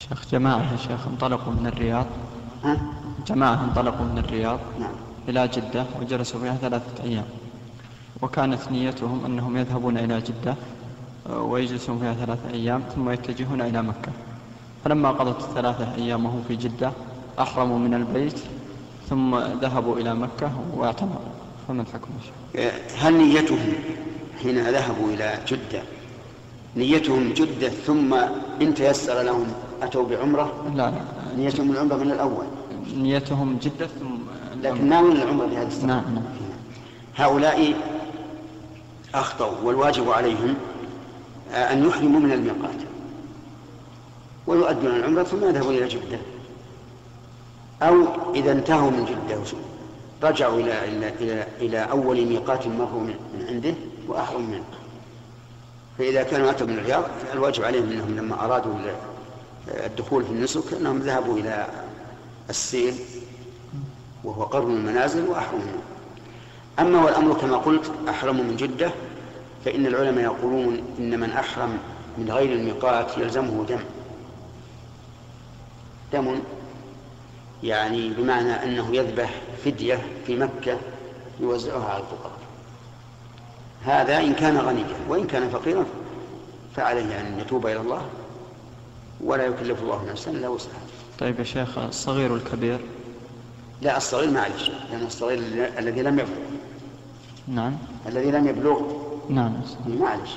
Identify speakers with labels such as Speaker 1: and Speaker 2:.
Speaker 1: شيخ جماعة يا شيخ انطلقوا من الرياض
Speaker 2: ها؟
Speaker 1: جماعة انطلقوا من الرياض
Speaker 2: نعم
Speaker 1: إلى جدة وجلسوا فيها ثلاثة أيام وكانت نيتهم أنهم يذهبون إلى جدة آه، ويجلسون فيها ثلاثة أيام ثم يتجهون إلى مكة فلما قضت الثلاثة أيام وهم في جدة أحرموا من البيت ثم ذهبوا إلى مكة واعتمروا فما الحكم يا شيخ؟
Speaker 2: آه، هل نيتهم حين ذهبوا إلى جدة نيتهم جدة ثم إن تيسر لهم أتوا بعمرة
Speaker 1: لا لا
Speaker 2: نيتهم العمرة من الأول
Speaker 1: نيتهم جدة ثم
Speaker 2: لكن ناوي العمرة في هذه السنة
Speaker 1: نعم نعم
Speaker 2: هؤلاء أخطأوا والواجب عليهم آه، أن يحرموا من الميقات ويؤدون العمرة ثم يذهبوا إلى جدة أو إذا انتهوا من جدة رجعوا إلى إلى إلى, إلى أول ميقات مروا من من عنده وأحرموا منه فإذا كانوا أتوا من الرياض الواجب عليهم أنهم لما أرادوا ال- آه، الدخول في النسك أنهم ذهبوا إلى السيل وهو قرن المنازل وأحرموا منه أما والأمر كما قلت أحرموا من جدة فإن العلماء يقولون إن من أحرم من غير الميقات يلزمه دم دم يعني بمعنى أنه يذبح فدية في مكة يوزعها على الفقراء هذا إن كان غنيا وإن كان فقيرا فعليه أن يتوب إلى الله ولا يكلف الله نفسا إلا وسعها
Speaker 1: طيب يا شيخ الصغير والكبير
Speaker 2: لا الصغير معلش لأن الصغير الذي لم يبلغ
Speaker 1: نعم
Speaker 2: الذي لم يبلغ
Speaker 1: نعم
Speaker 2: معلش